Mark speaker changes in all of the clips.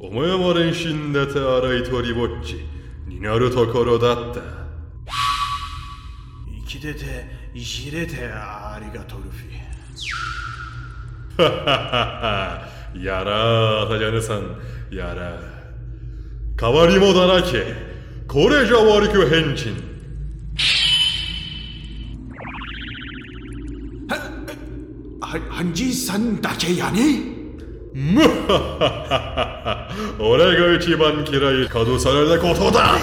Speaker 1: 思いも練習だて荒い鳥ぼっちになるところだった
Speaker 2: 生きてていじれてありがとうルフィ
Speaker 1: はははは やらータジャネさんやら変わりもだらけこれじゃ悪く変人
Speaker 2: はハンジさんだけやね
Speaker 1: むっはっはっはっは俺が一番嫌い角されたことだ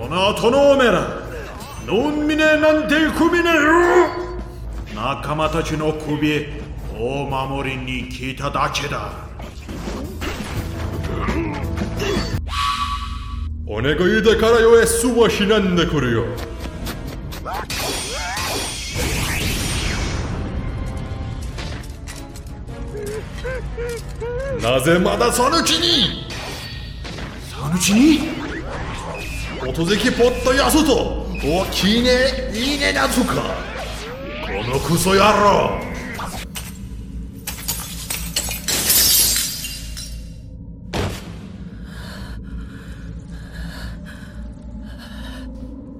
Speaker 2: この後のおめえらのんみねなんてくみねよ仲間たちの首お守りに聞いただけだ
Speaker 1: お願いだからよえすはしなんでくるよなぜまだそのちに
Speaker 2: そのうちに
Speaker 1: 音ぜきポットやすと大きいねいいねだとかこのクソ野郎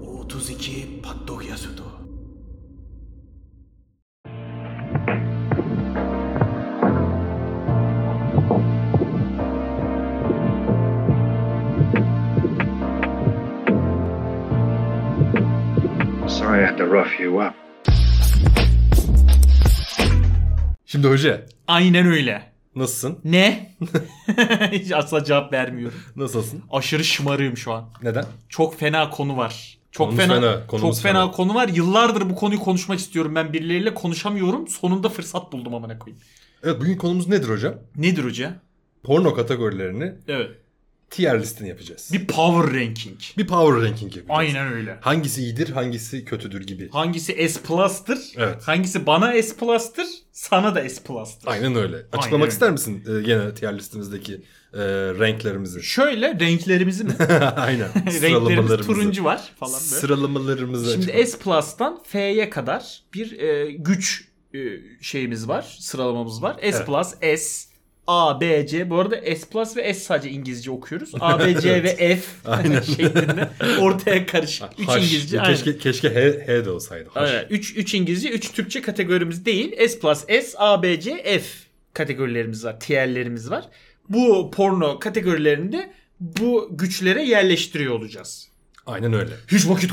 Speaker 2: おとずきパッドギャスと
Speaker 3: Sorry I had to rough you up.
Speaker 1: Şimdi hoca
Speaker 4: Aynen öyle.
Speaker 1: nasılsın?
Speaker 4: Ne? Hiç asla cevap vermiyorum.
Speaker 1: Nasılsın?
Speaker 4: Aşırı şımarığım şu an.
Speaker 1: Neden?
Speaker 4: Çok fena konu var. Çok
Speaker 1: Konumuz
Speaker 4: fena,
Speaker 1: fena, konumuz
Speaker 4: çok fena,
Speaker 1: fena.
Speaker 4: konu var. Yıllardır bu konuyu konuşmak istiyorum ben birileriyle konuşamıyorum. Sonunda fırsat buldum amına koyayım.
Speaker 1: Evet bugün konumuz nedir hocam?
Speaker 4: Nedir hoca?
Speaker 1: Porno kategorilerini
Speaker 4: Evet.
Speaker 1: tier listini yapacağız.
Speaker 4: Bir power ranking.
Speaker 1: Bir power ranking yapacağız.
Speaker 4: Aynen öyle.
Speaker 1: Hangisi iyidir, hangisi kötüdür gibi.
Speaker 4: Hangisi S plus'tır?
Speaker 1: Evet.
Speaker 4: Hangisi bana S plus'tır? Sana da S plus'tır.
Speaker 1: Aynen öyle. Açıklamak
Speaker 4: öyle.
Speaker 1: ister misin e, gene tier listimizdeki e, renklerimizi?
Speaker 4: Şöyle renklerimizi mi?
Speaker 1: Aynen.
Speaker 4: Renklerimiz
Speaker 1: Sıralamalarımızı.
Speaker 4: turuncu var falan böyle.
Speaker 1: Sıralamalarımızı
Speaker 4: Şimdi
Speaker 1: açıkla.
Speaker 4: S Plus'tan F'ye kadar bir e, güç e, şeyimiz var. Sıralamamız var. S Plus, S, A, B, C. Bu arada S Plus ve S sadece İngilizce okuyoruz. A, B, C ve F şeklinde ortaya karışık. 3
Speaker 1: Haş.
Speaker 4: İngilizce. Aynen.
Speaker 1: Keşke, keşke H, H de olsaydı. Haş.
Speaker 4: Aynen. 3, 3 İngilizce, 3 Türkçe kategorimiz değil. S Plus, S, A, B, C, F kategorilerimiz var. Tier'lerimiz var. Bu porno kategorilerinde bu güçlere yerleştiriyor olacağız.
Speaker 1: Aynen öyle.
Speaker 4: Hiç vakit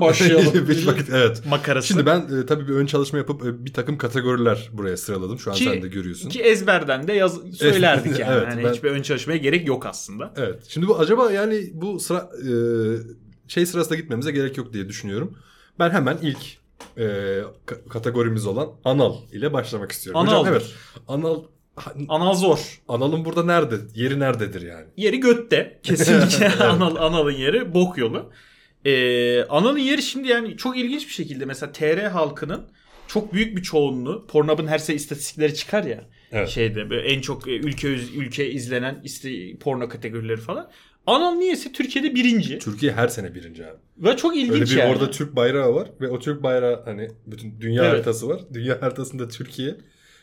Speaker 4: başlayalım.
Speaker 1: Şey Bir vakit, evet.
Speaker 4: Makarası.
Speaker 1: Şimdi ben e, tabii bir ön çalışma yapıp e, bir takım kategoriler buraya sıraladım. Şu an sen de görüyorsun.
Speaker 4: Ki ezberden de yaz söylerdik yani.
Speaker 1: Evet,
Speaker 4: Hani
Speaker 1: ben-
Speaker 4: hiçbir ön çalışmaya gerek yok aslında.
Speaker 1: Evet. Şimdi bu acaba yani bu sıra e, şey sırasına gitmemize gerek yok diye düşünüyorum. Ben hemen ilk e, ka- kategorimiz olan anal ile başlamak istiyorum. Hocam,
Speaker 4: Analdır.
Speaker 1: evet. Anal ha-
Speaker 4: Anal zor.
Speaker 1: analın burada nerede? Yeri nerededir yani?
Speaker 4: Yeri götte. Kesinlikle anal, analın yeri bok yolu. Ee, analın yeri şimdi yani çok ilginç bir şekilde mesela TR halkının çok büyük bir çoğunluğu Pornhub'ın her sene istatistikleri çıkar ya.
Speaker 1: Evet.
Speaker 4: Şeyde böyle en çok e, ülke ülke izlenen işte porno kategorileri falan. Anal niyeyse Türkiye'de birinci.
Speaker 1: Türkiye her sene birinci abi.
Speaker 4: Ve çok
Speaker 1: Öyle
Speaker 4: ilginç
Speaker 1: bir
Speaker 4: yani.
Speaker 1: orada Türk bayrağı var ve o Türk bayrağı hani bütün dünya
Speaker 4: Evet.
Speaker 1: haritası var. Dünya haritasında Türkiye.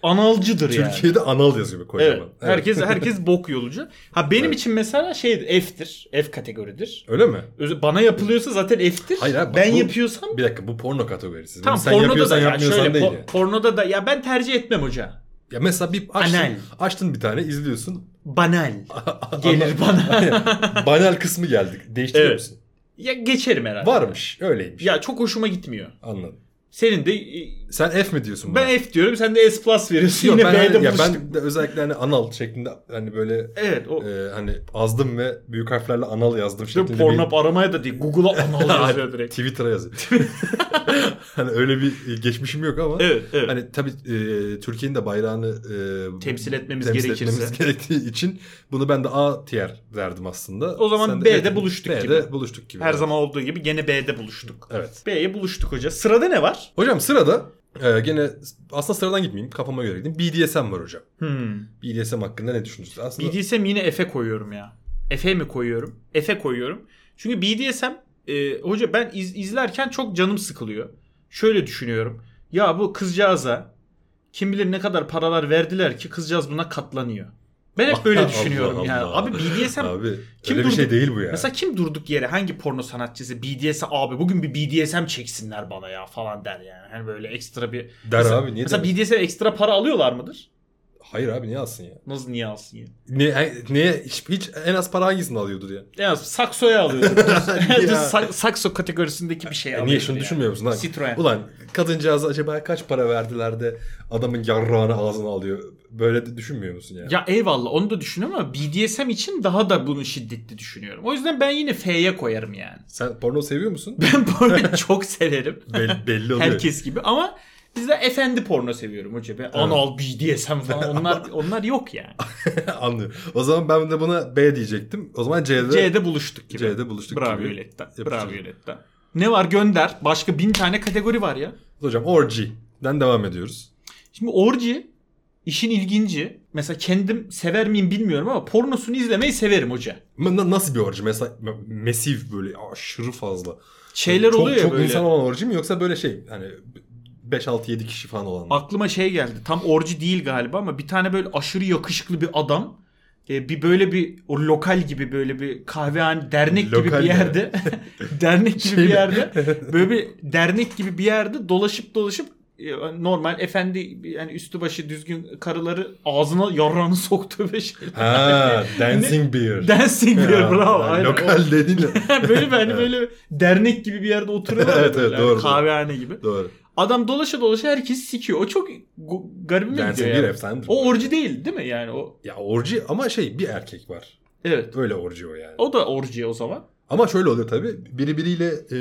Speaker 4: Analcıdır yani.
Speaker 1: Türkiye'de anal yazıyor bir kocaman.
Speaker 4: Evet. Herkes herkes bok yolcu. Ha benim için mesela şey F'tir. F kategoridir.
Speaker 1: Öyle mi?
Speaker 4: Öz- Bana yapılıyorsa zaten F'tir.
Speaker 1: Hayır abi, bak
Speaker 4: ben
Speaker 1: bu-
Speaker 4: yapıyorsam
Speaker 1: Bir dakika bu porno kategorisi.
Speaker 4: tam
Speaker 1: Bunu sen
Speaker 4: pornoda da
Speaker 1: yapıyorsan
Speaker 4: ya
Speaker 1: yapmıyorsan
Speaker 4: şöyle
Speaker 1: değil.
Speaker 4: po-
Speaker 1: yani.
Speaker 4: pornoda da ya ben tercih etmem hoca.
Speaker 1: Ya mesela bir açtın,
Speaker 4: Anal.
Speaker 1: açtın bir tane izliyorsun.
Speaker 4: Banal. Gelir bana.
Speaker 1: Banal kısmı geldik. Değiştiriyor
Speaker 4: Evet.
Speaker 1: musun?
Speaker 4: ya geçerim herhalde.
Speaker 1: Varmış. Öyleymiş.
Speaker 4: Ya çok hoşuma gitmiyor.
Speaker 1: Anladım.
Speaker 4: Senin de e,
Speaker 1: Sen F mi diyorsun buna?
Speaker 4: ben F diyorum sen de S plus veriyorsun
Speaker 1: Yok,
Speaker 4: yine
Speaker 1: ben,
Speaker 4: B'de
Speaker 1: hani- ya
Speaker 4: buluştuk.
Speaker 1: ben de özellikle hani anal şeklinde hani böyle
Speaker 4: Evet o
Speaker 1: e, hani azdım ve büyük harflerle anal yazdım
Speaker 4: Değil mi?
Speaker 1: şeklinde
Speaker 4: Pornhub aramaya da değil. Google'a anal yazıyor
Speaker 1: bir
Speaker 4: direkt.
Speaker 1: Twitter'a yazıyor. hani öyle bir geçmişim yok ama.
Speaker 4: Evet evet.
Speaker 1: Hani tabii e, Türkiye'nin de bayrağını e,
Speaker 4: Temsil etmemiz
Speaker 1: temsil
Speaker 4: gerekirse.
Speaker 1: etmemiz gerektiği için bunu ben de A tier verdim aslında.
Speaker 4: O zaman
Speaker 1: Sen
Speaker 4: B'de
Speaker 1: F-
Speaker 4: buluştuk
Speaker 1: B'de
Speaker 4: gibi.
Speaker 1: buluştuk gibi.
Speaker 4: Her
Speaker 1: Evet.
Speaker 4: zaman olduğu gibi gene B'de buluştuk.
Speaker 1: Evet.
Speaker 4: B'ye buluştuk hoca. Sırada ne var?
Speaker 1: Hocam sırada e, gene aslında sıradan gitmeyeyim kafama göre gideyim. BDSM var hocam.
Speaker 4: Hmm.
Speaker 1: BDSM hakkında ne düşünüyorsunuz? Aslında
Speaker 4: BDSM yine F'e koyuyorum ya. F'e mi koyuyorum? F'e koyuyorum. Çünkü BDSM e, hoca ben iz- izlerken çok canım sıkılıyor. Şöyle düşünüyorum. Ya bu kızcağıza kim bilir ne kadar paralar verdiler ki kızcağız buna katlanıyor. Ben hep böyle
Speaker 1: Allah
Speaker 4: düşünüyorum ya.
Speaker 1: Allah.
Speaker 4: Abi BDSM
Speaker 1: abi
Speaker 4: Kim
Speaker 1: öyle bir şey
Speaker 4: durduk-
Speaker 1: değil bu ya.
Speaker 4: Mesela kim durduk yere hangi porno sanatçısı BDSM abi bugün bir BDSM çeksinler bana ya falan der yani. Hani böyle ekstra bir
Speaker 1: Der
Speaker 4: mesela,
Speaker 1: abi niye
Speaker 4: Mesela
Speaker 1: der?
Speaker 4: BDSM ekstra para alıyorlar mıdır?
Speaker 1: Hayır abi niye alsın ya?
Speaker 4: Nasıl niye alsın ya?
Speaker 1: Ne, ne hiç, hiç en az para hangisini alıyordur ya?
Speaker 4: Ya saksoya alıyordur. Düz
Speaker 1: Ya.
Speaker 4: sak- sakso kategorisindeki bir şey
Speaker 1: E
Speaker 4: alıyordur.
Speaker 1: niye şunu
Speaker 4: yani.
Speaker 1: düşünmüyor musun lan?
Speaker 4: Citroen.
Speaker 1: Ulan kadıncağıza acaba kaç para verdiler de adamın yarrağını ağzına alıyor. Böyle de düşünmüyor musun yani?
Speaker 4: Ya eyvallah onu da düşünüyorum ama BDSM için daha da bunu şiddetli düşünüyorum. O yüzden ben yine F'ye koyarım yani.
Speaker 1: Sen porno seviyor musun?
Speaker 4: Ben porno çok severim.
Speaker 1: Bel- belli oluyor.
Speaker 4: herkes gibi ama biz de efendi porno seviyorum hoca. Ben anal BDSM falan onlar onlar yok yani.
Speaker 1: Anlıyorum. O zaman ben de buna B diyecektim. O zaman C'de.
Speaker 4: C'de buluştuk gibi.
Speaker 1: C'de buluştuk
Speaker 4: Bravo
Speaker 1: gibi
Speaker 4: Yölet'ten.
Speaker 1: yapacağız.
Speaker 4: Bravo Yölet'ten. Ne var gönder. Başka bin tane kategori var ya.
Speaker 1: Hocam Orgy'den devam ediyoruz.
Speaker 4: Şimdi orji işin ilginci. Mesela kendim sever miyim bilmiyorum ama pornosunu izlemeyi severim hoca.
Speaker 1: Ma- na- Nasıl bir orgy? Mesela mesif böyle aşırı fazla. Hani
Speaker 4: Şeyler
Speaker 1: çok,
Speaker 4: oluyor ya
Speaker 1: çok
Speaker 4: böyle.
Speaker 1: insan olan orgy mi yoksa böyle şey hani 5-6-7 kişi falan olan mı?
Speaker 4: Aklıma şey geldi. Tam orji değil galiba ama bir tane böyle aşırı yakışıklı bir adam e, bir böyle bir o lokal gibi böyle bir kahvehane dernek gibi
Speaker 1: Lokal
Speaker 4: bir
Speaker 1: mi?
Speaker 4: yerde dernek gibi
Speaker 1: Şey
Speaker 4: bir
Speaker 1: mi?
Speaker 4: yerde böyle bir dernek gibi bir yerde dolaşıp dolaşıp e, normal efendi yani üstü başı düzgün karıları ağzına yarrağını soktuğu bir şey.
Speaker 1: Ha, dancing beer.
Speaker 4: Dancing beer
Speaker 1: Ha, ha,
Speaker 4: bravo. aynen.
Speaker 1: Lokal dediğin.
Speaker 4: O- böyle bir hani böyle dernek gibi bir yerde oturuyorlar. ya
Speaker 1: Evet, evet,
Speaker 4: böyle, hani
Speaker 1: doğru, doğru.
Speaker 4: Kahvehane gibi.
Speaker 1: Doğru.
Speaker 4: Adam dolaşa dolaşa herkesi sikiyor. O çok gu- garibime
Speaker 1: Dancing
Speaker 4: gidiyor
Speaker 1: beer
Speaker 4: yani.
Speaker 1: efsanedir.
Speaker 4: O orji değil değil mi yani o?
Speaker 1: Ya orji ama şey bir erkek var.
Speaker 4: Evet.
Speaker 1: Öyle orji o yani.
Speaker 4: O da orji o zaman.
Speaker 1: Ama şöyle oluyor tabii. Biri biriyle e,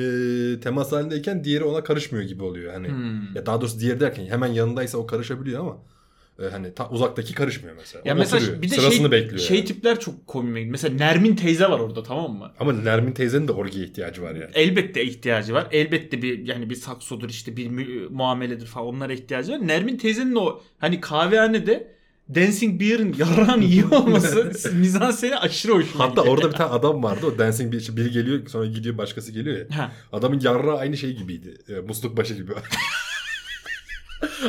Speaker 1: temas halindeyken diğeri ona karışmıyor gibi oluyor. Hani
Speaker 4: Hmm.
Speaker 1: ya daha doğrusu diğeri derken hemen yanındaysa o karışabiliyor ama e, hani ta uzaktaki karışmıyor mesela.
Speaker 4: Ya
Speaker 1: O
Speaker 4: mesela
Speaker 1: oturuyor,
Speaker 4: bir de
Speaker 1: sırasını
Speaker 4: şey,
Speaker 1: bekliyor.
Speaker 4: şey
Speaker 1: yani.
Speaker 4: tipler çok komik. Mesela Nermin teyze var orada tamam mı?
Speaker 1: Ama Nermin teyzenin de orgiye ihtiyacı var yani.
Speaker 4: Elbette ihtiyacı var. Elbette bir yani bir saksodur işte bir mü- muameledir falan onlara ihtiyacı var. Nermin teyzenin o hani kahvehanede Dancing Beer'ın yarrağını iyi olması mizanseni aşırı hoşuma
Speaker 1: Hatta
Speaker 4: gidiyor.
Speaker 1: orada bir tane adam vardı. O dancing bir biri geliyor sonra gidiyor başkası geliyor ya.
Speaker 4: Ha.
Speaker 1: Adamın yarrağı aynı şey gibiydi. E, musluk başı gibi.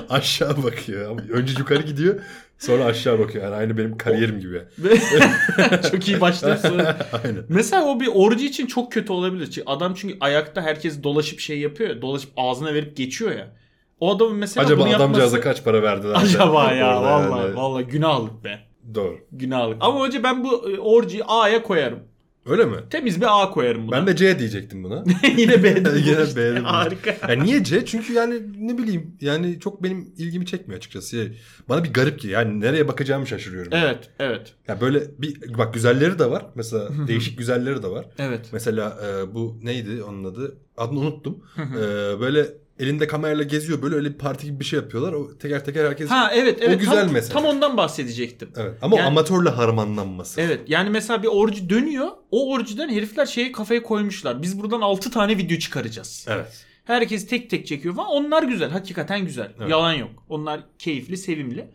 Speaker 1: aşağı bakıyor. Ama Önce yukarı gidiyor. Sonra aşağı bakıyor. Yani aynı benim kariyerim gibi.
Speaker 4: çok iyi başlıyorsun.
Speaker 1: Aynen.
Speaker 4: Mesela o bir orucu için çok kötü olabilir. Çünkü adam çünkü ayakta herkes dolaşıp şey yapıyor. ya, Dolaşıp ağzına verip geçiyor ya. O adamın mesela
Speaker 1: Acaba
Speaker 4: bunu
Speaker 1: adamcağıza
Speaker 4: yapması...
Speaker 1: kaç para verdiler? de
Speaker 4: Acaba ya
Speaker 1: orada yani?
Speaker 4: vallahi vallahi günahlık be.
Speaker 1: Doğru.
Speaker 4: Günahlık. Ama hoca ben bu e, orcuyu A'ya koyarım.
Speaker 1: Öyle mi?
Speaker 4: Temiz bir A koyarım buna.
Speaker 1: Ben de C diyecektim buna.
Speaker 4: yine beğendim.
Speaker 1: Yine
Speaker 4: bu işte.
Speaker 1: beğendim.
Speaker 4: Harika.
Speaker 1: Ya niye C? Çünkü yani ne bileyim yani çok benim ilgimi çekmiyor açıkçası. Yani Bana bir garip ki yani nereye bakacağımı şaşırıyorum.
Speaker 4: Evet, evet.
Speaker 1: Ya böyle bir bak güzelleri de var. Mesela değişik güzelleri de var.
Speaker 4: Evet.
Speaker 1: Mesela e, bu neydi onun adı? Adını unuttum.
Speaker 4: hı.
Speaker 1: E, böyle elinde kamerayla geziyor. Böyle öyle bir parti gibi bir şey yapıyorlar. O teker teker herkes...
Speaker 4: Ha evet
Speaker 1: O
Speaker 4: evet.
Speaker 1: güzel
Speaker 4: tam,
Speaker 1: mesela.
Speaker 4: Tam ondan bahsedecektim.
Speaker 1: Evet. Ama
Speaker 4: Yani-
Speaker 1: o amatörle harmanlanması.
Speaker 4: Evet yani mesela bir orucu dönüyor. O orucudan herifler şeye kafaya koymuşlar. Biz buradan 6 tane video çıkaracağız.
Speaker 1: Evet.
Speaker 4: Herkes tek tek çekiyor falan. Onlar güzel. Hakikaten güzel.
Speaker 1: Evet.
Speaker 4: Yalan yok. Onlar keyifli, sevimli.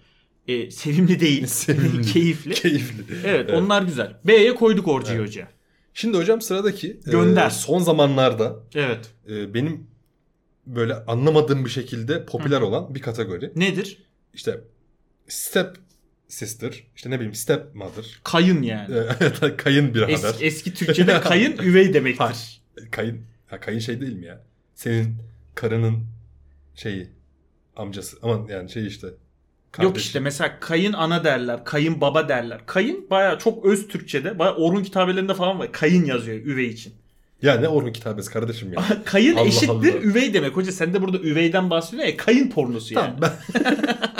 Speaker 4: Ee, sevimli değil.
Speaker 1: Sevimli.
Speaker 4: keyifli.
Speaker 1: Keyifli.
Speaker 4: evet, onlar güzel. B'ye koyduk Orcu'yu hoca.
Speaker 1: Şimdi hocam sıradaki... e,
Speaker 4: Gönder.
Speaker 1: son zamanlarda
Speaker 4: Evet.
Speaker 1: e, benim böyle anlamadığım bir şekilde popüler olan bir kategori.
Speaker 4: Nedir?
Speaker 1: İşte step sister, işte ne bileyim step mother,
Speaker 4: Kayın yani.
Speaker 1: e, kayın birader.
Speaker 4: Es- eski Türkçe'de kayın üvey demektir.
Speaker 1: Hayır. Kayın, ha, kayın şey değil mi ya? Senin karının şeyi, amcası. Aman yani şey işte.
Speaker 4: Yok
Speaker 1: kardeşi.
Speaker 4: işte mesela kayın ana derler, kayın baba derler. Kayın baya çok öz Türkçe'de, baya Orhun kitabelerinde falan var. Kayın yazıyor üvey için.
Speaker 1: Ya ne Orhun kitabesi kardeşim ya.
Speaker 4: Kayın
Speaker 1: Allah
Speaker 4: eşittir
Speaker 1: Allah.
Speaker 4: üvey demek. Hoca sen de burada üveyden bahsediyorsun ya. Kayın pornosu yani.
Speaker 1: Tamam ben...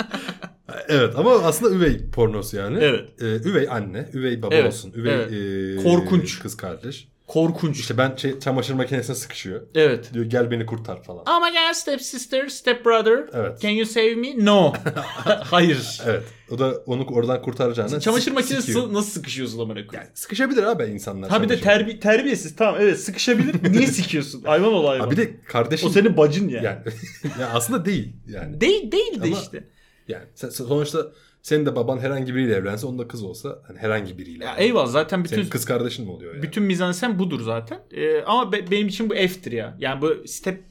Speaker 1: evet ama aslında üvey pornosu yani.
Speaker 4: Evet.
Speaker 1: Ee, üvey anne, üvey baba
Speaker 4: Evet,
Speaker 1: olsun. Üvey
Speaker 4: evet.
Speaker 1: ee,
Speaker 4: Korkunç.
Speaker 1: kız kardeş.
Speaker 4: Korkunç.
Speaker 1: İşte ben şey, çamaşır makinesine sıkışıyor.
Speaker 4: Evet.
Speaker 1: Diyor gel beni kurtar falan.
Speaker 4: Oh my god step sister, step brother.
Speaker 1: Evet.
Speaker 4: Can you save me? No. Hayır.
Speaker 1: Evet. O da onu oradan kurtaracağını
Speaker 4: Çamaşır
Speaker 1: sık-
Speaker 4: makinesi
Speaker 1: sıkıyor.
Speaker 4: nasıl sıkışıyorsun amına koyayım?
Speaker 1: sıkışabilir abi insanlar.
Speaker 4: Ha bir de
Speaker 1: çamaşır
Speaker 4: terbi terbiyesiz tamam evet sıkışabilir. Niye sikiyorsun? Hayvan ol hayvan.
Speaker 1: Ha bir de kardeşin
Speaker 4: o senin bacın yani.
Speaker 1: yani, ya aslında değil yani.
Speaker 4: Değil değil de
Speaker 1: Ama-
Speaker 4: işte.
Speaker 1: Yani sen- sonuçta senin de baban herhangi biriyle evlense onun da kız olsa hani herhangi biriyle.
Speaker 4: Ya
Speaker 1: yani.
Speaker 4: eyvallah zaten bütün
Speaker 1: Senin kız kardeşin mi oluyor yani?
Speaker 4: bütün mizansen budur zaten. Ee, ama be- benim için bu F'tir ya. Yani bu step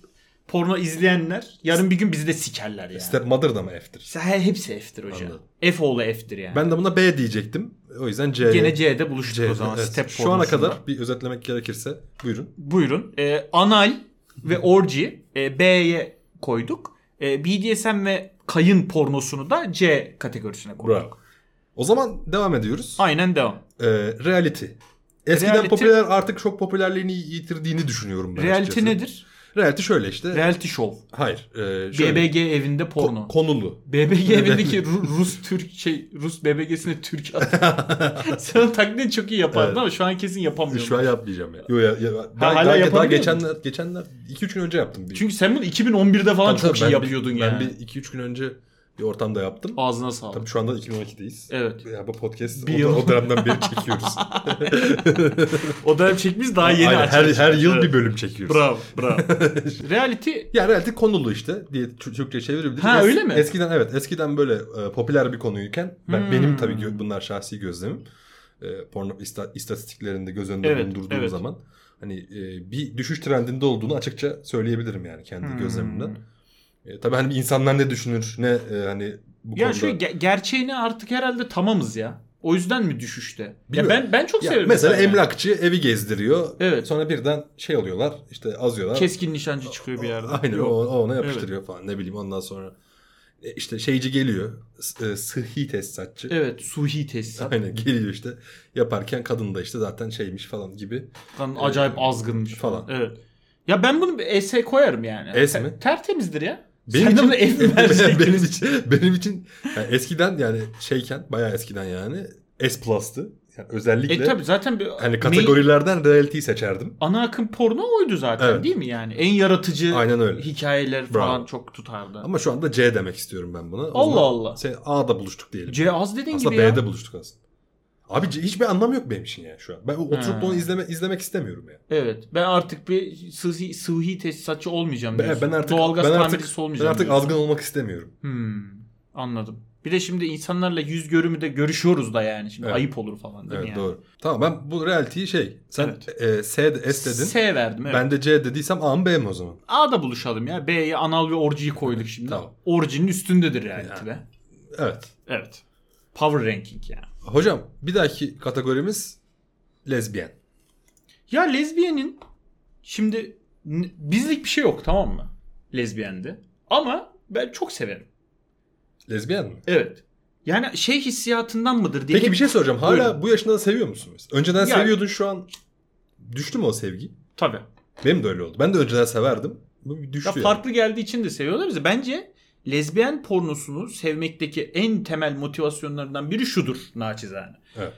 Speaker 4: porno izleyenler yarın bir gün bizi de sikerler yani.
Speaker 1: Step Mother da mı F'tir?
Speaker 4: He- Hepsi F'tir hocam.
Speaker 1: Anladım.
Speaker 4: F oğlu F'tir yani.
Speaker 1: Ben de buna B diyecektim. O yüzden C.
Speaker 4: Gene C'de buluştuk
Speaker 1: C-
Speaker 4: o zaman
Speaker 1: evet.
Speaker 4: step
Speaker 1: Şu ana
Speaker 4: pornosunda.
Speaker 1: kadar bir özetlemek gerekirse buyurun.
Speaker 4: Buyurun. Ee, anal ve orji e, B'ye koyduk. E, BDSM ve kayın pornosunu da C kategorisine koyduk.
Speaker 1: Bravo. O zaman devam ediyoruz.
Speaker 4: Aynen devam.
Speaker 1: Ee, reality. Eskiden
Speaker 4: Reality-
Speaker 1: popüler artık çok popülerliğini yitirdiğini düşünüyorum ben
Speaker 4: Reality
Speaker 1: açıkçası.
Speaker 4: nedir?
Speaker 1: Reality şöyle işte.
Speaker 4: Reality show.
Speaker 1: Hayır. E, şöyle.
Speaker 4: BBG evinde
Speaker 1: Ko-
Speaker 4: porno.
Speaker 1: konulu.
Speaker 4: BBG evindeki Ru- Rus Türk şey Rus BBG'sine Türk adı. Sen onun taklidini çok iyi yapardın
Speaker 1: Evet.
Speaker 4: ama şu an kesin yapamıyorum.
Speaker 1: Şu an yapmayacağım ya. Yo ya, ya daha,
Speaker 4: hala
Speaker 1: daha- daha,
Speaker 4: yapabiliyor
Speaker 1: geçenler geçenler 2 3 gün önce yaptım. Bir.
Speaker 4: Çünkü sen bunu 2011'de falan
Speaker 1: Tabii
Speaker 4: çok
Speaker 1: tabii,
Speaker 4: iyi
Speaker 1: ben
Speaker 4: yapıyordun
Speaker 1: bir,
Speaker 4: yani.
Speaker 1: Ben bir 2 3 gün önce bir ortamda yaptım.
Speaker 4: Ağzına sağlık.
Speaker 1: Tabii şu anda 2012'deyiz.
Speaker 4: Evet.
Speaker 1: Ya bu podcast
Speaker 4: Bir
Speaker 1: o,
Speaker 4: yıl.
Speaker 1: o dönemden beri çekiyoruz.
Speaker 4: O dönem çekmiş daha yeni
Speaker 1: Aynen, her,
Speaker 4: açılmış.
Speaker 1: her yıl
Speaker 4: Evet.
Speaker 1: bir bölüm çekiyoruz.
Speaker 4: Bravo, bravo. Reality
Speaker 1: Ya reality konulu işte diye Tür- Türkçe çevirebiliriz.
Speaker 4: Ha, öyle mi?
Speaker 1: Eskiden evet eskiden böyle e, popüler bir konuyken ben
Speaker 4: Hmm.
Speaker 1: benim tabii gö- bunlar şahsi gözlemim. E, porno ista- istatistiklerinde göz önünde
Speaker 4: Evet,
Speaker 1: bulundurduğum
Speaker 4: evet.
Speaker 1: zaman hani e, bir düşüş trendinde olduğunu açıkça söyleyebilirim yani kendi
Speaker 4: Hmm.
Speaker 1: gözlemimden. E, tabii hani insanlar ne düşünür ne e, hani bu
Speaker 4: Ya
Speaker 1: konuda.
Speaker 4: şu ge- gerçeğini artık herhalde tamamız ya. O yüzden mi düşüşte? Ya
Speaker 1: Bilmiyorum.
Speaker 4: ben ben çok
Speaker 1: Ya
Speaker 4: severim.
Speaker 1: mesela
Speaker 4: yani.
Speaker 1: emlakçı evi gezdiriyor.
Speaker 4: Evet.
Speaker 1: Sonra birden şey oluyorlar işte azıyorlar.
Speaker 4: keskin nişancı çıkıyor bir yerde.
Speaker 1: Aynen
Speaker 4: Yok.
Speaker 1: o, o ona yapıştırıyor falan ne bileyim ondan sonra e, işte şeyci geliyor s- e, sıhhi tesisatçı.
Speaker 4: Evet, suhi tesisat.
Speaker 1: Aynen geliyor işte yaparken kadın da işte zaten şeymiş falan gibi.
Speaker 4: Lan acayip azgınmış falan.
Speaker 1: Falan.
Speaker 4: Evet. Ya ben bunu bir S'e koyarım yani.
Speaker 1: S mi?
Speaker 4: Tertemizdir ya.
Speaker 1: Benim
Speaker 4: Sen de
Speaker 1: için,
Speaker 4: bunu F mi
Speaker 1: benim,
Speaker 4: verecektin?
Speaker 1: için benim için yani eskiden yani şeyken bayağı eskiden yani S plus'tı. Yani özellikle
Speaker 4: E tabi zaten bir
Speaker 1: hani
Speaker 4: main-
Speaker 1: kategorilerden reality'yi seçerdim.
Speaker 4: ana akım porno oydu zaten
Speaker 1: Evet.
Speaker 4: değil mi yani? En yaratıcı
Speaker 1: Aynen öyle.
Speaker 4: hikayeler
Speaker 1: Bravo.
Speaker 4: falan çok tutardı.
Speaker 1: Ama şu anda C demek istiyorum ben buna. O
Speaker 4: Allah
Speaker 1: zaman
Speaker 4: Allah.
Speaker 1: Sen A'da buluştuk diyelim.
Speaker 4: C az dediğin
Speaker 1: Aslında
Speaker 4: gibi ya.
Speaker 1: B'de buluştuk aslında. Abi c- hiçbir anlamı yok benim için ya şu an. Ben o- oturup
Speaker 4: Ha.
Speaker 1: da onu izleme, izlemek istemiyorum ya.
Speaker 4: Evet. Ben artık bir sıhhi, sıhhi tesisatçı olmayacağım
Speaker 1: Ben,
Speaker 4: diyorsun.
Speaker 1: ben artık
Speaker 4: Doğalgaz
Speaker 1: ben artık,
Speaker 4: tamircisi
Speaker 1: ben
Speaker 4: olmayacağım
Speaker 1: artık
Speaker 4: diyorsun.
Speaker 1: azgın olmak istemiyorum.
Speaker 4: Hmm, anladım. Bir de şimdi insanlarla yüz görümü de görüşüyoruz da yani. Şimdi
Speaker 1: Evet.
Speaker 4: ayıp olur falan değil
Speaker 1: Evet
Speaker 4: mi yani?
Speaker 1: doğru. Tamam ben bu reality'yi şey sen e, S, de- S dedin.
Speaker 4: S verdim evet.
Speaker 1: Ben de C dediysem A mı B mi o zaman?
Speaker 4: A'da buluşalım ya. B'ye anal ve orjiyi koyduk şimdi.
Speaker 1: Tamam.
Speaker 4: Orjinin üstündedir yani.
Speaker 1: Yani.
Speaker 4: be.
Speaker 1: Evet.
Speaker 4: Evet. Power ranking yani.
Speaker 1: Hocam bir dahaki kategorimiz lezbiyen.
Speaker 4: Ya lezbiyenin şimdi n- bizlik bir şey yok tamam mı? Lezbiyende. Ama ben çok severim.
Speaker 1: Lezbiyen mi?
Speaker 4: Evet. Yani şey hissiyatından mıdır diye.
Speaker 1: Peki bir şey soracağım. Hala
Speaker 4: Buyurun.
Speaker 1: bu yaşında da seviyor musun? mesela? Önceden
Speaker 4: Ya-
Speaker 1: seviyordun şu an düştü mü o sevgi?
Speaker 4: Tabii.
Speaker 1: Benim de öyle oldu. Ben de önceden severdim. Bu bir düştü
Speaker 4: Ya
Speaker 1: yani.
Speaker 4: farklı geldiği için de seviyorlar bizi. Bence lezbiyen pornosunu sevmekteki en temel motivasyonlarından biri şudur naçizane.
Speaker 1: Evet.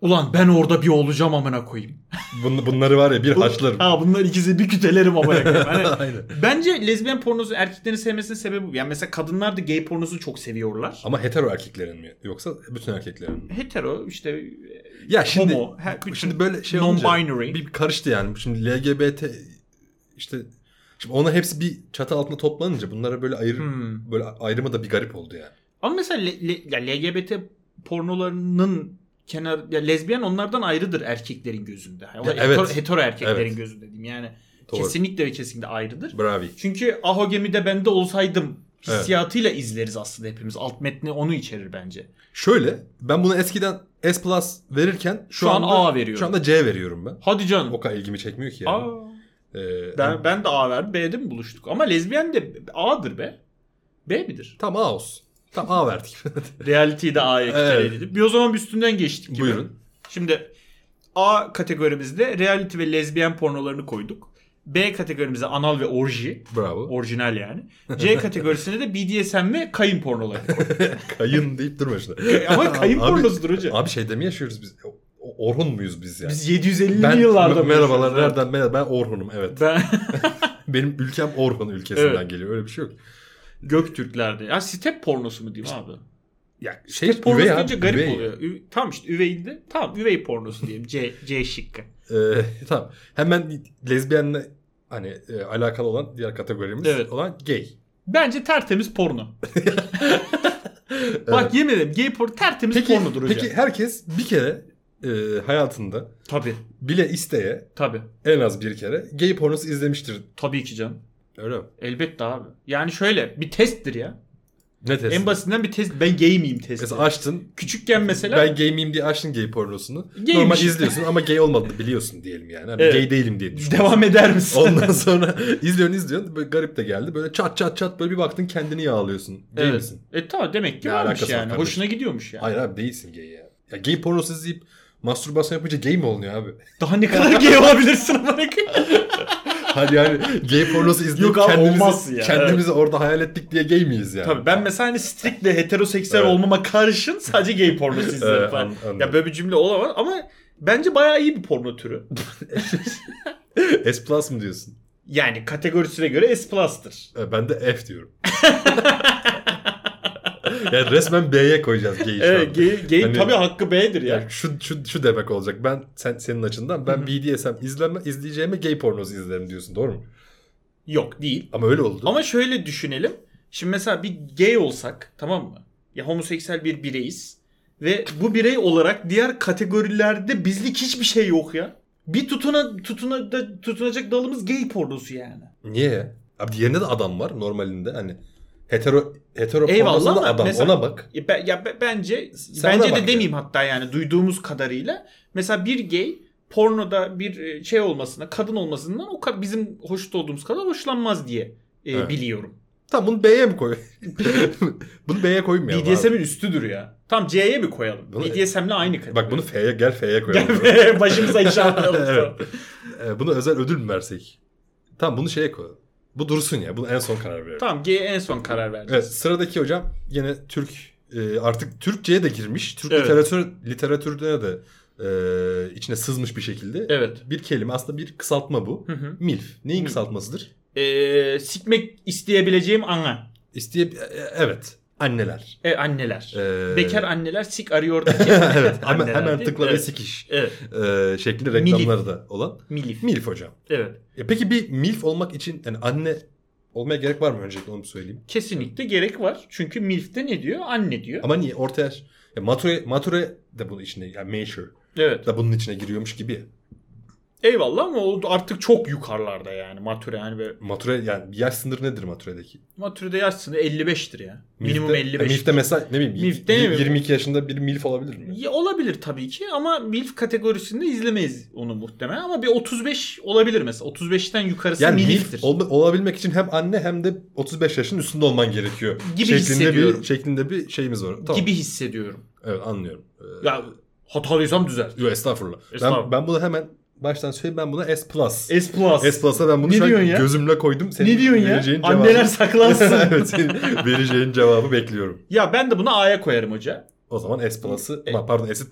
Speaker 4: Ulan ben orada bir olacağım amına koyayım.
Speaker 1: Bun- bunları var ya bir haşlarım.
Speaker 4: Ha bunlar ikisi bir kütelerim amına koyayım. Hani
Speaker 1: Aynen.
Speaker 4: bence lezbiyen pornosu erkeklerin sevmesinin sebebi bu. Yani mesela kadınlar da gay pornosunu çok seviyorlar.
Speaker 1: Ama hetero erkeklerin mi yoksa bütün erkeklerin mi?
Speaker 4: Hetero işte
Speaker 1: Ya şimdi
Speaker 4: homo. he- bütün
Speaker 1: şimdi böyle şey olunca
Speaker 4: non-binary.
Speaker 1: bir karıştı yani. Şimdi LGBT işte şimdi ona hepsi bir çatı altında toplanınca bunlara böyle ayrı
Speaker 4: Hmm.
Speaker 1: böyle ayrımı da bir garip oldu yani.
Speaker 4: Ama mesela le- le- ya LGBT pornolarının kenar ya lezbiyen onlardan ayrıdır erkeklerin gözünde. Yani
Speaker 1: Ya
Speaker 4: o hetero,
Speaker 1: evet.
Speaker 4: hetero erkeklerin
Speaker 1: Evet.
Speaker 4: gözünde diyeyim. Yani
Speaker 1: Doğru.
Speaker 4: kesinlikle ve kesinlikle ayrıdır.
Speaker 1: Bravi.
Speaker 4: Çünkü Aho gemide bende olsaydım hissiyatıyla izleriz aslında hepimiz. Alt metni onu içerir bence.
Speaker 1: Şöyle ben bunu eskiden S plus verirken şu,
Speaker 4: Şu an
Speaker 1: anda-
Speaker 4: A veriyorum.
Speaker 1: Şu anda C veriyorum ben.
Speaker 4: Hadi canım.
Speaker 1: O kadar ilgimi çekmiyor ki yani.
Speaker 4: Aa,
Speaker 1: Ee,
Speaker 4: ben, ben de A verdim B'de mi buluştuk? Ama lezbiyen de A'dır be. B midir?
Speaker 1: Tam A olsun. Tam A verdik.
Speaker 4: Reality'yi de A'ya
Speaker 1: Evet.
Speaker 4: kütüleyelim. Bir o zaman bir üstünden geçtik gibi.
Speaker 1: Buyurun.
Speaker 4: Şimdi A kategorimizde reality ve lezbiyen pornolarını koyduk. B kategorimize anal ve orji.
Speaker 1: Bravo.
Speaker 4: Orijinal yani. C kategorisine de BDSM ve kayın pornoları koyduk.
Speaker 1: Kayın deyip durma şuna.
Speaker 4: Ama kayın
Speaker 1: Abi-
Speaker 4: pornosudur hocam.
Speaker 1: Abi şeyde mi yaşıyoruz biz? O- o- Orhun muyuz biz yani?
Speaker 4: Biz 750'li
Speaker 1: ben,
Speaker 4: yıllarda
Speaker 1: m- Merhabalar
Speaker 4: buluşuyoruz.
Speaker 1: nereden? Merhaba, ben Orhun'um evet.
Speaker 4: Ben
Speaker 1: Benim ülkem Orhun ülkesinden
Speaker 4: Evet.
Speaker 1: geliyor. Öyle bir şey yok.
Speaker 4: Göktürklerde. Ya step pornosu mu diyeyim abi?
Speaker 1: Ya şey
Speaker 4: Step pornosu
Speaker 1: üvey abi,
Speaker 4: deyince garip
Speaker 1: üvey.
Speaker 4: oluyor. Ü- Tamam işte üveyinde. Tamam üvey pornosu diyeyim. C, C şıkkı.
Speaker 1: Ee, tamam. Hemen lezbiyenle hani e, alakalı olan diğer kategorimiz
Speaker 4: Evet.
Speaker 1: olan gay.
Speaker 4: Bence tertemiz porno. Bak yemin ederim gay porno tertemiz
Speaker 1: Peki,
Speaker 4: pornodur hocam.
Speaker 1: peki herkes bir kere e, hayatında
Speaker 4: Tabii.
Speaker 1: bile isteye
Speaker 4: Tabii.
Speaker 1: en az bir kere gay pornosu izlemiştir.
Speaker 4: Tabii ki canım.
Speaker 1: Öyle mi?
Speaker 4: Elbette abi. Yani şöyle bir testtir ya.
Speaker 1: Ne testi?
Speaker 4: En basitinden bir test. Ben gay miyim testi.
Speaker 1: Mesela açtın.
Speaker 4: Küçükken mesela
Speaker 1: Ben gay miyim diye açtın gay pornosunu.
Speaker 4: Gaymiş.
Speaker 1: Normal izliyorsun ama gay olmadığını biliyorsun diyelim yani. Hani
Speaker 4: Evet.
Speaker 1: Gay değilim diye düşünüyorsun.
Speaker 4: devam eder misin?
Speaker 1: Ondan sonra izliyorsun izliyorsun. Böyle garip de geldi. Böyle çat çat çat böyle bir baktın kendini yağlıyorsun. Gay
Speaker 4: Evet.
Speaker 1: misin?
Speaker 4: E tamam demek ki
Speaker 1: Ne
Speaker 4: varmış
Speaker 1: alakası var
Speaker 4: yani.
Speaker 1: kardeşim?
Speaker 4: Hoşuna gidiyormuş yani.
Speaker 1: Hayır abi değilsin gay ya. Ya gay pornosu izleyip mastürbasyon yapınca gay mi olunuyor abi?
Speaker 4: Daha ne kadar gay olabilirsin ama
Speaker 1: Hani yani gay pornosu izleyip
Speaker 4: Yok abi,
Speaker 1: kendimizi,
Speaker 4: olmaz ya.
Speaker 1: kendimizi orada hayal ettik diye gay miyiz yani?
Speaker 4: Tabii ben mesela hani striktle heteroseksüel
Speaker 1: Evet.
Speaker 4: olmama karşın sadece gay pornosu izlerim
Speaker 1: Evet,
Speaker 4: falan.
Speaker 1: Ee, an- anladım.
Speaker 4: ya böyle bir cümle olamaz ama bence bayağı iyi bir porno türü.
Speaker 1: S plus mı diyorsun?
Speaker 4: Yani kategorisine göre S plus'tır.
Speaker 1: E, Ben de F diyorum. yani resmen B'ye koyacağız gay'i şu
Speaker 4: Evet,
Speaker 1: an.
Speaker 4: gay, gay
Speaker 1: Hani-
Speaker 4: tabii hakkı B'dir yani.
Speaker 1: Yani şu, şu, şu demek olacak. Ben sen senin açından ben BDSM izleme, izleyeceğime gay pornosu izlerim diyorsun doğru mu?
Speaker 4: Yok değil.
Speaker 1: Ama öyle oldu.
Speaker 4: Ama şöyle düşünelim. Şimdi mesela bir gay olsak tamam mı? Ya homoseksüel bir bireyiz. Ve bu birey olarak diğer kategorilerde bizlik hiçbir şey yok ya. Bir tutuna, tutuna da, tutunacak dalımız gay pornosu yani.
Speaker 1: Niye ya? Abi diğerinde de adam var normalinde hani hetero hetero
Speaker 4: Eyvallah
Speaker 1: pornosunda
Speaker 4: ama
Speaker 1: adam
Speaker 4: mesela-
Speaker 1: ona bak.
Speaker 4: Ya, ben- ya ben- bence
Speaker 1: Sen ona
Speaker 4: bence
Speaker 1: bak
Speaker 4: de
Speaker 1: ya.
Speaker 4: demeyeyim hatta yani duyduğumuz kadarıyla. Mesela bir gay pornoda bir e, şey olmasına, kadın olmasından o ka- bizim hoşnut olduğumuz kadar hoşlanmaz diye e,
Speaker 1: Evet.
Speaker 4: biliyorum.
Speaker 1: Tamam bunu B'ye mi koy? bunu B'ye koymayalım. abi.
Speaker 4: BDSM'in üstüdür ya. Tam C'ye mi koyalım?
Speaker 1: Bunu-
Speaker 4: BDSM'le aynı kategori.
Speaker 1: Bak bunu F'ye gel F'ye koyalım.
Speaker 4: Gel be, başımıza iş almayalım.
Speaker 1: Evet. Ee, buna özel ödül mü versek? Tamam bunu şeye koyalım. Bu dursun ya. Bunu en son karar verelim.
Speaker 4: Tamam G'ye en son karar verdim.
Speaker 1: Evet sıradaki hocam yine Türk e, artık Türkçe'ye de girmiş. Türk
Speaker 4: Evet.
Speaker 1: literatür literatürüne de e, içine sızmış bir şekilde.
Speaker 4: Evet.
Speaker 1: Bir kelime aslında bir kısaltma bu.
Speaker 4: Hı hı.
Speaker 1: MILF. Neyin
Speaker 4: Milf.
Speaker 1: kısaltmasıdır?
Speaker 4: Ee, sikmek isteyebileceğim ana.
Speaker 1: İsteye e, evet anneler.
Speaker 4: E, anneler.
Speaker 1: Ee,
Speaker 4: Bekar anneler sik arıyordaki
Speaker 1: evet hemen,
Speaker 4: anneler
Speaker 1: hemen
Speaker 4: değil mi?
Speaker 1: tıkla ve
Speaker 4: Evet.
Speaker 1: sikiş
Speaker 4: Evet.
Speaker 1: e, şeklinde reklamları da olan.
Speaker 4: Milif.
Speaker 1: MILF hocam.
Speaker 4: Evet.
Speaker 1: E, peki bir MILF olmak için yani anne olmaya gerek var mı öncelikle onu söyleyeyim.
Speaker 4: Kesinlikle gerek var. Çünkü milfte ne diyor? Anne diyor.
Speaker 1: Ama niye orta yaş? Ya mature, mature de bunun içinde yani mature
Speaker 4: Evet.
Speaker 1: da bunun içine giriyormuş gibi.
Speaker 4: Eyvallah ama o artık çok yukarılarda yani matüre yani böyle.
Speaker 1: Mature yani yaş sınırı nedir mature'deki?
Speaker 4: Matürede yaş sınırı 55'tir ya. Minimum
Speaker 1: Milf'te-
Speaker 4: 55.
Speaker 1: Ha, Milf'te mesela ne bileyim
Speaker 4: Milf'te
Speaker 1: y-
Speaker 4: mi?
Speaker 1: 22 yaşında bir milf olabilir mi?
Speaker 4: Ya olabilir tabii ki ama MILF kategorisinde izlemeyiz onu muhtemelen ama bir 35 olabilir mesela. 35'ten yukarısı
Speaker 1: Yani
Speaker 4: MILF'tir.
Speaker 1: milf ol- olabilmek için hem anne hem de 35 yaşın üstünde olman gerekiyor.
Speaker 4: Gibi
Speaker 1: şeklinde
Speaker 4: hissediyorum.
Speaker 1: bir şeklinde bir şeyimiz var. Tamam.
Speaker 4: gibi hissediyorum.
Speaker 1: Evet anlıyorum. Ee,
Speaker 4: Ya hatalıysam düzelt.
Speaker 1: yo, estağfurullah.
Speaker 4: Estağfurullah.
Speaker 1: Ben, ben bunu hemen baştan söyleyeyim ben buna S plus.
Speaker 4: S plus.
Speaker 1: S plus'a ben bunu
Speaker 4: Ne
Speaker 1: şu an
Speaker 4: diyorsun ya?
Speaker 1: gözümle koydum. Senin
Speaker 4: ne diyorsun
Speaker 1: vereceğin
Speaker 4: ya?
Speaker 1: cevabı-
Speaker 4: Anneler saklansın.
Speaker 1: evet, senin vereceğin cevabı bekliyorum.
Speaker 4: ya ben de buna A'ya koyarım hoca.
Speaker 1: O zaman S Plus'ı,
Speaker 4: E-
Speaker 1: ama pardon S'ı...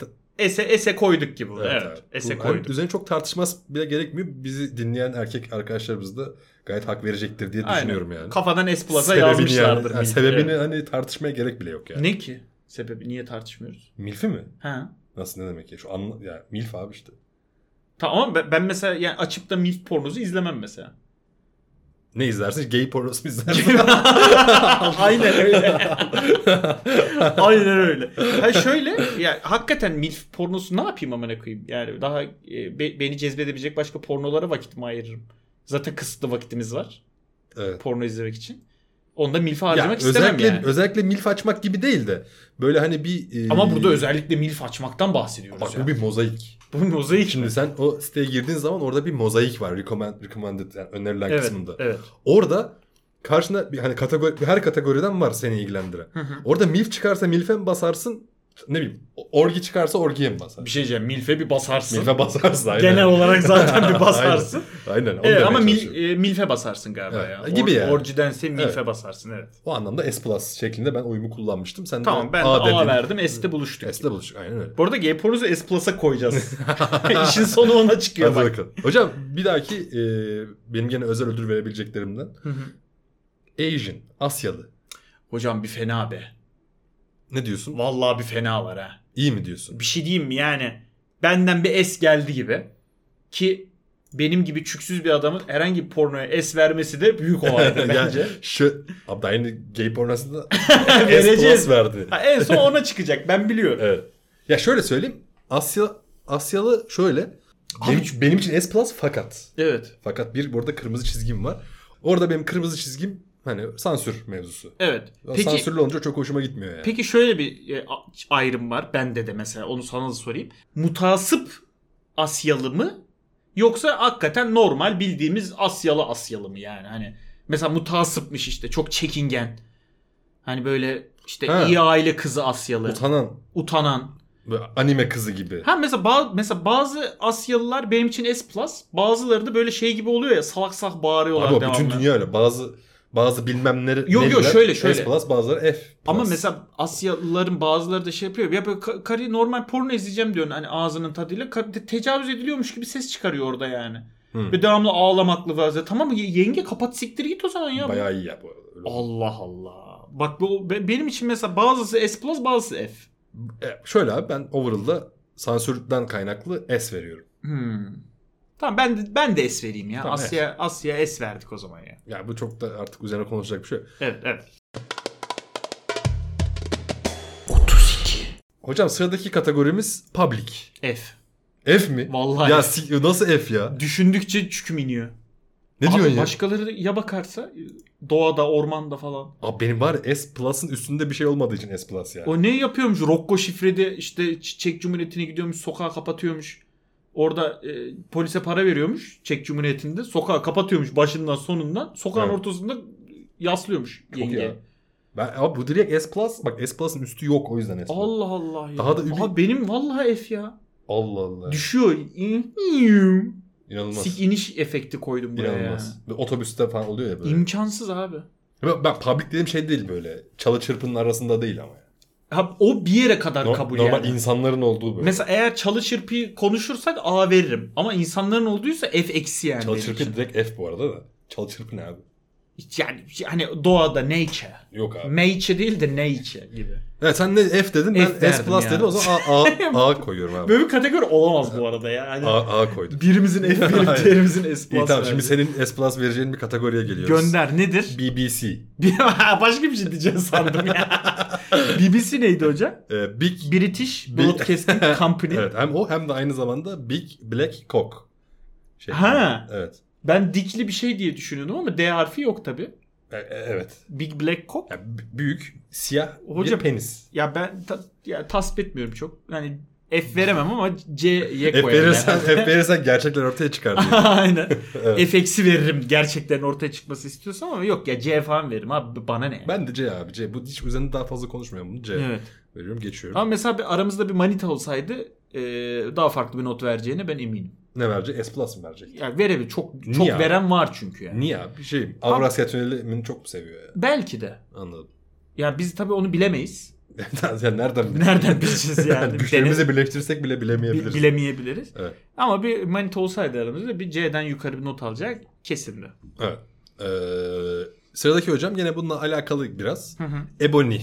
Speaker 4: S'e S'e koyduk gibi. bunu. Evet.
Speaker 1: abi.
Speaker 4: S'e
Speaker 1: Bu-
Speaker 4: koyduk.
Speaker 1: hani üzerine çok tartışması bile gerekmiyor. Bizi dinleyen erkek arkadaşlarımız da gayet hak verecektir diye
Speaker 4: Aynen.
Speaker 1: düşünüyorum yani.
Speaker 4: Kafadan S plus'a
Speaker 1: Sebebini
Speaker 4: yazmışlardır.
Speaker 1: yani- yani
Speaker 4: MILF'i.
Speaker 1: sebebini
Speaker 4: Evet.
Speaker 1: hani tartışmaya gerek bile yok yani.
Speaker 4: Ne ki? Sebebi niye tartışmıyoruz?
Speaker 1: Milf'i mi?
Speaker 4: Ha.
Speaker 1: Nasıl ne demek ya? Şu anla... Ya Milf abi işte.
Speaker 4: Tamam ben, ben mesela yani açıp da MILF pornosu izlemem mesela.
Speaker 1: Ne izlersin? Gay pornosu mu izlersin?
Speaker 4: Aynen öyle. Aynen öyle. Ha şöyle ya hakikaten milf pornosu ne yapayım amına koyayım? Yani daha e, be- beni cezbedebilecek başka pornolara vakit mi ayırırım? Zaten kısıtlı vakitimiz var
Speaker 1: evet.
Speaker 4: porno izlemek için. Onu da milfe
Speaker 1: Ya,
Speaker 4: harcamak istemem
Speaker 1: özellikle,
Speaker 4: yani.
Speaker 1: özellikle milf açmak gibi değil de böyle hani bir... e,
Speaker 4: Ama burada şey. özellikle milf açmaktan bahsediyoruz.
Speaker 1: Bak
Speaker 4: yani.
Speaker 1: bu bir mozaik.
Speaker 4: bu mozaik.
Speaker 1: Şimdi sen o siteye girdiğin zaman orada bir mozaik var. Recommend, recommended yani önerilen
Speaker 4: evet,
Speaker 1: kısmında.
Speaker 4: evet.
Speaker 1: Orada karşına bir hani kategori her kategoriden var seni ilgilendiren.
Speaker 4: hı.
Speaker 1: Orada milf çıkarsa milfe mi basarsın? ne bileyim orgi çıkarsa orgiye mi basar?
Speaker 4: Bir şey diyeceğim. Milf'e bir basarsın.
Speaker 1: Milfe basarsın aynen.
Speaker 4: Genel olarak zaten bir basarsın.
Speaker 1: aynen. aynen. Onu
Speaker 4: Evet,
Speaker 1: demeye
Speaker 4: ama mil-
Speaker 1: çalışıyorum.
Speaker 4: e, Milf'e basarsın galiba
Speaker 1: Evet, E,
Speaker 4: ya.
Speaker 1: gibi yani.
Speaker 4: Orcidense Milf'e
Speaker 1: Evet.
Speaker 4: basarsın evet.
Speaker 1: O anlamda S plus şeklinde ben oyumu kullanmıştım. Sen
Speaker 4: Tamam
Speaker 1: de
Speaker 4: ben de
Speaker 1: A,
Speaker 4: A,
Speaker 1: dedin.
Speaker 4: verdim S'te buluştuk.
Speaker 1: S'le buluştuk aynen öyle.
Speaker 4: Bu arada G-Poruz'u S Plus'a koyacağız. İşin sonu ona çıkıyor
Speaker 1: Hadi
Speaker 4: bak.
Speaker 1: bakalım. Hocam bir dahaki e, benim gene özel ödül verebileceklerimden. Asian, Asyalı.
Speaker 4: Hocam bir fena be.
Speaker 1: Ne diyorsun?
Speaker 4: Vallahi bir fena var ha.
Speaker 1: İyi mi diyorsun?
Speaker 4: Bir şey diyeyim mi yani benden bir S geldi gibi ki benim gibi çüksüz bir adamın herhangi bir pornoya S vermesi de büyük olaydı
Speaker 1: Ya,
Speaker 4: bence.
Speaker 1: şu abi daha yeni gay pornosunda S
Speaker 4: Vereceğiz.
Speaker 1: plus verdi.
Speaker 4: Ha, en son ona çıkacak ben biliyorum.
Speaker 1: Evet. Ya şöyle söyleyeyim. Asya Asyalı şöyle. Benim, benim için S plus fakat.
Speaker 4: Evet.
Speaker 1: Fakat bir burada kırmızı çizgim var. Orada benim kırmızı çizgim hani sansür mevzusu.
Speaker 4: Evet. Peki
Speaker 1: Sansürlü olunca çok hoşuma gitmiyor yani.
Speaker 4: Peki şöyle bir e, a- ayrım var bende de mesela onu sana da sorayım. Mutasip Asyalı mı yoksa hakikaten normal bildiğimiz Asyalı Asyalı mı yani hani mesela mutasipmiş işte çok çekingen. Hani böyle işte
Speaker 1: Ha.
Speaker 4: iyi aile kızı Asyalı,
Speaker 1: Utanan
Speaker 4: utanan.
Speaker 1: böyle anime kızı gibi.
Speaker 4: Ha mesela ba- mesela bazı Asyalılar benim için S+, bazıları da böyle şey gibi oluyor ya salak salak bağırıyorlar
Speaker 1: Abi o
Speaker 4: devamlı.
Speaker 1: bütün dünya öyle. Bazı bazı bilmem ne.
Speaker 4: yok,
Speaker 1: neliler
Speaker 4: şöyle, şöyle.
Speaker 1: S plus bazıları F. plus.
Speaker 4: Ama mesela Asyalıların bazıları da şey yapıyor. Ya böyle ka- karı normal porno izleyeceğim diyorsun hani ağzının tadıyla. Kar- te- tecavüz ediliyormuş gibi ses çıkarıyor orada yani.
Speaker 1: Hı.
Speaker 4: Ve devamlı ağlamaklı vaziyette. Tamam y- yenge kapat siktir git o zaman ya.
Speaker 1: bayağı iyi ya bu. arada. Öyle-
Speaker 4: Allah Allah. Bak bu be- benim için mesela bazısı S+, bazısı F.
Speaker 1: E, şöyle abi ben overall'da sansürden kaynaklı S veriyorum.
Speaker 4: Hmm. Tamam ben de, ben de S vereyim ya.
Speaker 1: Tamam,
Speaker 4: Asya Asya S verdik o zaman ya.
Speaker 1: Ya bu çok da artık üzerine konuşacak bir şey. yok.
Speaker 4: Evet evet.
Speaker 1: Hocam sıradaki kategorimiz public.
Speaker 4: F.
Speaker 1: F mi?
Speaker 4: Vallahi.
Speaker 1: Ya si- nasıl F ya?
Speaker 4: Düşündükçe çüküm iniyor.
Speaker 1: Ne
Speaker 4: Abi
Speaker 1: diyorsun ya?
Speaker 4: başkaları ya bakarsa doğada, ormanda falan.
Speaker 1: Abi benim var ya S Plus'ın üstünde bir şey olmadığı için S Plus yani.
Speaker 4: O ne yapıyormuş? Rocco şifrede işte Çek Cumhuriyeti'ne gidiyormuş, sokağı kapatıyormuş. Orada e, polise para veriyormuş Çek Cumhuriyeti'nde. Sokağı kapatıyormuş başından sonundan. Sokağın
Speaker 1: Evet.
Speaker 4: ortasında yaslıyormuş
Speaker 1: Çok
Speaker 4: yenge.
Speaker 1: ya. Ben, abi bu direkt S Plus. Bak S Plus'ın üstü yok o yüzden S Plus. Allah
Speaker 4: Allah Allah ya.
Speaker 1: Daha da übi-
Speaker 4: Abi benim vallahi F ya.
Speaker 1: Allah. Allah.
Speaker 4: Düşüyor.
Speaker 1: İnanılmaz.
Speaker 4: Sik iniş efekti koydum buraya.
Speaker 1: İnanılmaz. Ve Otobüste falan oluyor ya
Speaker 4: ya.
Speaker 1: böyle.
Speaker 4: İmkansız abi.
Speaker 1: ben, ben public dediğim şey değil böyle. Çalı çırpının arasında değil ama. Yani.
Speaker 4: Ha, o bir yere kadar
Speaker 1: No-
Speaker 4: kabul
Speaker 1: normal
Speaker 4: yani.
Speaker 1: insanların olduğu böyle.
Speaker 4: Mesela eğer çalı çırpıyı konuşursak A veririm. Ama insanların olduysa F eksi yani.
Speaker 1: Çalı
Speaker 4: benim
Speaker 1: çırpı
Speaker 4: için.
Speaker 1: direkt F bu arada da. Çalı çırpı ne abi?
Speaker 4: Yani hani doğada nature.
Speaker 1: Yok abi.
Speaker 4: Nature değil de nature gibi.
Speaker 1: Evet sen ne F dedin ben
Speaker 4: F
Speaker 1: S
Speaker 4: derdim
Speaker 1: Plus
Speaker 4: ya.
Speaker 1: dedim o zaman A, A, A koyuyorum abi.
Speaker 4: Böyle bir kategori olamaz bu arada ya. Hani
Speaker 1: A, A koydum.
Speaker 4: birimizin F verip
Speaker 1: Hayır.
Speaker 4: diğerimizin S
Speaker 1: İyi
Speaker 4: plus
Speaker 1: tamam şimdi
Speaker 4: verdi.
Speaker 1: senin S Plus vereceğin bir kategoriye geliyoruz.
Speaker 4: Gönder nedir?
Speaker 1: BBC.
Speaker 4: Bir- Başka bir şey diyeceğim sandım ya. BBC neydi hocam?
Speaker 1: Ee, Big
Speaker 4: British Broadcasting Company.
Speaker 1: Evet hem o hem de aynı zamanda Big Black Cock. Şey,
Speaker 4: Ha.
Speaker 1: Evet.
Speaker 4: Ben dikli bir şey diye düşünüyordum ama D harfi yok tabi.
Speaker 1: E- e- evet.
Speaker 4: Big Black Cock.
Speaker 1: Yani b- büyük siyah
Speaker 4: Hoca-
Speaker 1: bir penis.
Speaker 4: Ya ben ta- ya tasvip etmiyorum çok. Yani F veremem ama C'ye
Speaker 1: F
Speaker 4: koyarım.
Speaker 1: verirsen,
Speaker 4: herhalde.
Speaker 1: F verirsen gerçekler ortaya çıkar diyor.
Speaker 4: Aynen.
Speaker 1: Evet.
Speaker 4: F eksi veririm gerçeklerin ortaya çıkması istiyorsan ama yok ya C falan veririm abi bana ne.
Speaker 1: ben de C abi. C. Bu hiç üzerinde daha fazla konuşmuyorum. Bunu C
Speaker 4: Evet.
Speaker 1: veriyorum. Geçiyorum.
Speaker 4: Ama mesela bir- aramızda bir manita olsaydı e, daha farklı bir not vereceğine ben eminim.
Speaker 1: Ne verecek? S Plus mı verecek?
Speaker 4: Yani verebilir. Çok
Speaker 1: Niye
Speaker 4: çok
Speaker 1: abi?
Speaker 4: veren var çünkü yani.
Speaker 1: Niye abi? Şey, Avrasya Tüneli'ni çok mu seviyor ya?
Speaker 4: Belki de.
Speaker 1: Anladım.
Speaker 4: Yani biz tabii onu bilemeyiz.
Speaker 1: yani nereden
Speaker 4: Nereden bileceğiz yani?
Speaker 1: Güçlerimizi
Speaker 4: Dene-
Speaker 1: birleştirsek bile bilemeyebiliriz.
Speaker 4: bi- bilemeyebiliriz.
Speaker 1: Evet.
Speaker 4: Ama bir manita olsaydı aramızda bir C'den yukarı bir not alacak kesindi.
Speaker 1: Evet. Ee, sıradaki hocam yine bununla alakalı biraz.
Speaker 4: Hı hı.
Speaker 1: Ebony.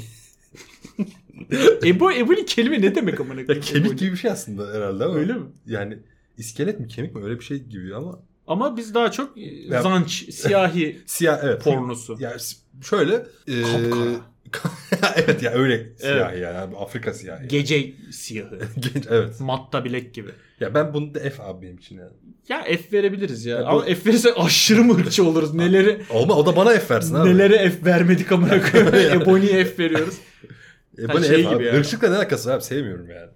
Speaker 4: e bu e bu kelime ne demek amına
Speaker 1: Ya
Speaker 4: koyayım?
Speaker 1: kemik gibi bir şey aslında herhalde ama.
Speaker 4: Öyle mi?
Speaker 1: Yani iskelet mi kemik mi öyle bir şey gibi ama
Speaker 4: Ama biz daha çok e,
Speaker 1: Ya-
Speaker 4: zanç, siyahi
Speaker 1: siyah evet.
Speaker 4: pornosu.
Speaker 1: Ya s- şöyle. e, evet ya öyle siyah yani abi, Afrika siyahı. yani.
Speaker 4: Gece siyahı.
Speaker 1: Genç evet.
Speaker 4: Matta bilek gibi.
Speaker 1: Ya ben bunu da F abi benim için yani.
Speaker 4: Ya F verebiliriz ya.
Speaker 1: Ya bu-
Speaker 4: Ama F verirsek aşırı mırçı oluruz. Neleri
Speaker 1: Ama o da bana F versin abi.
Speaker 4: neleri F vermedik amına koyayım. Ebony'ye F veriyoruz.
Speaker 1: Ebony
Speaker 4: Ha, şey
Speaker 1: E, F abi.
Speaker 4: gibi yani.
Speaker 1: Irkçılıkla ne alakası var abi sevmiyorum yani.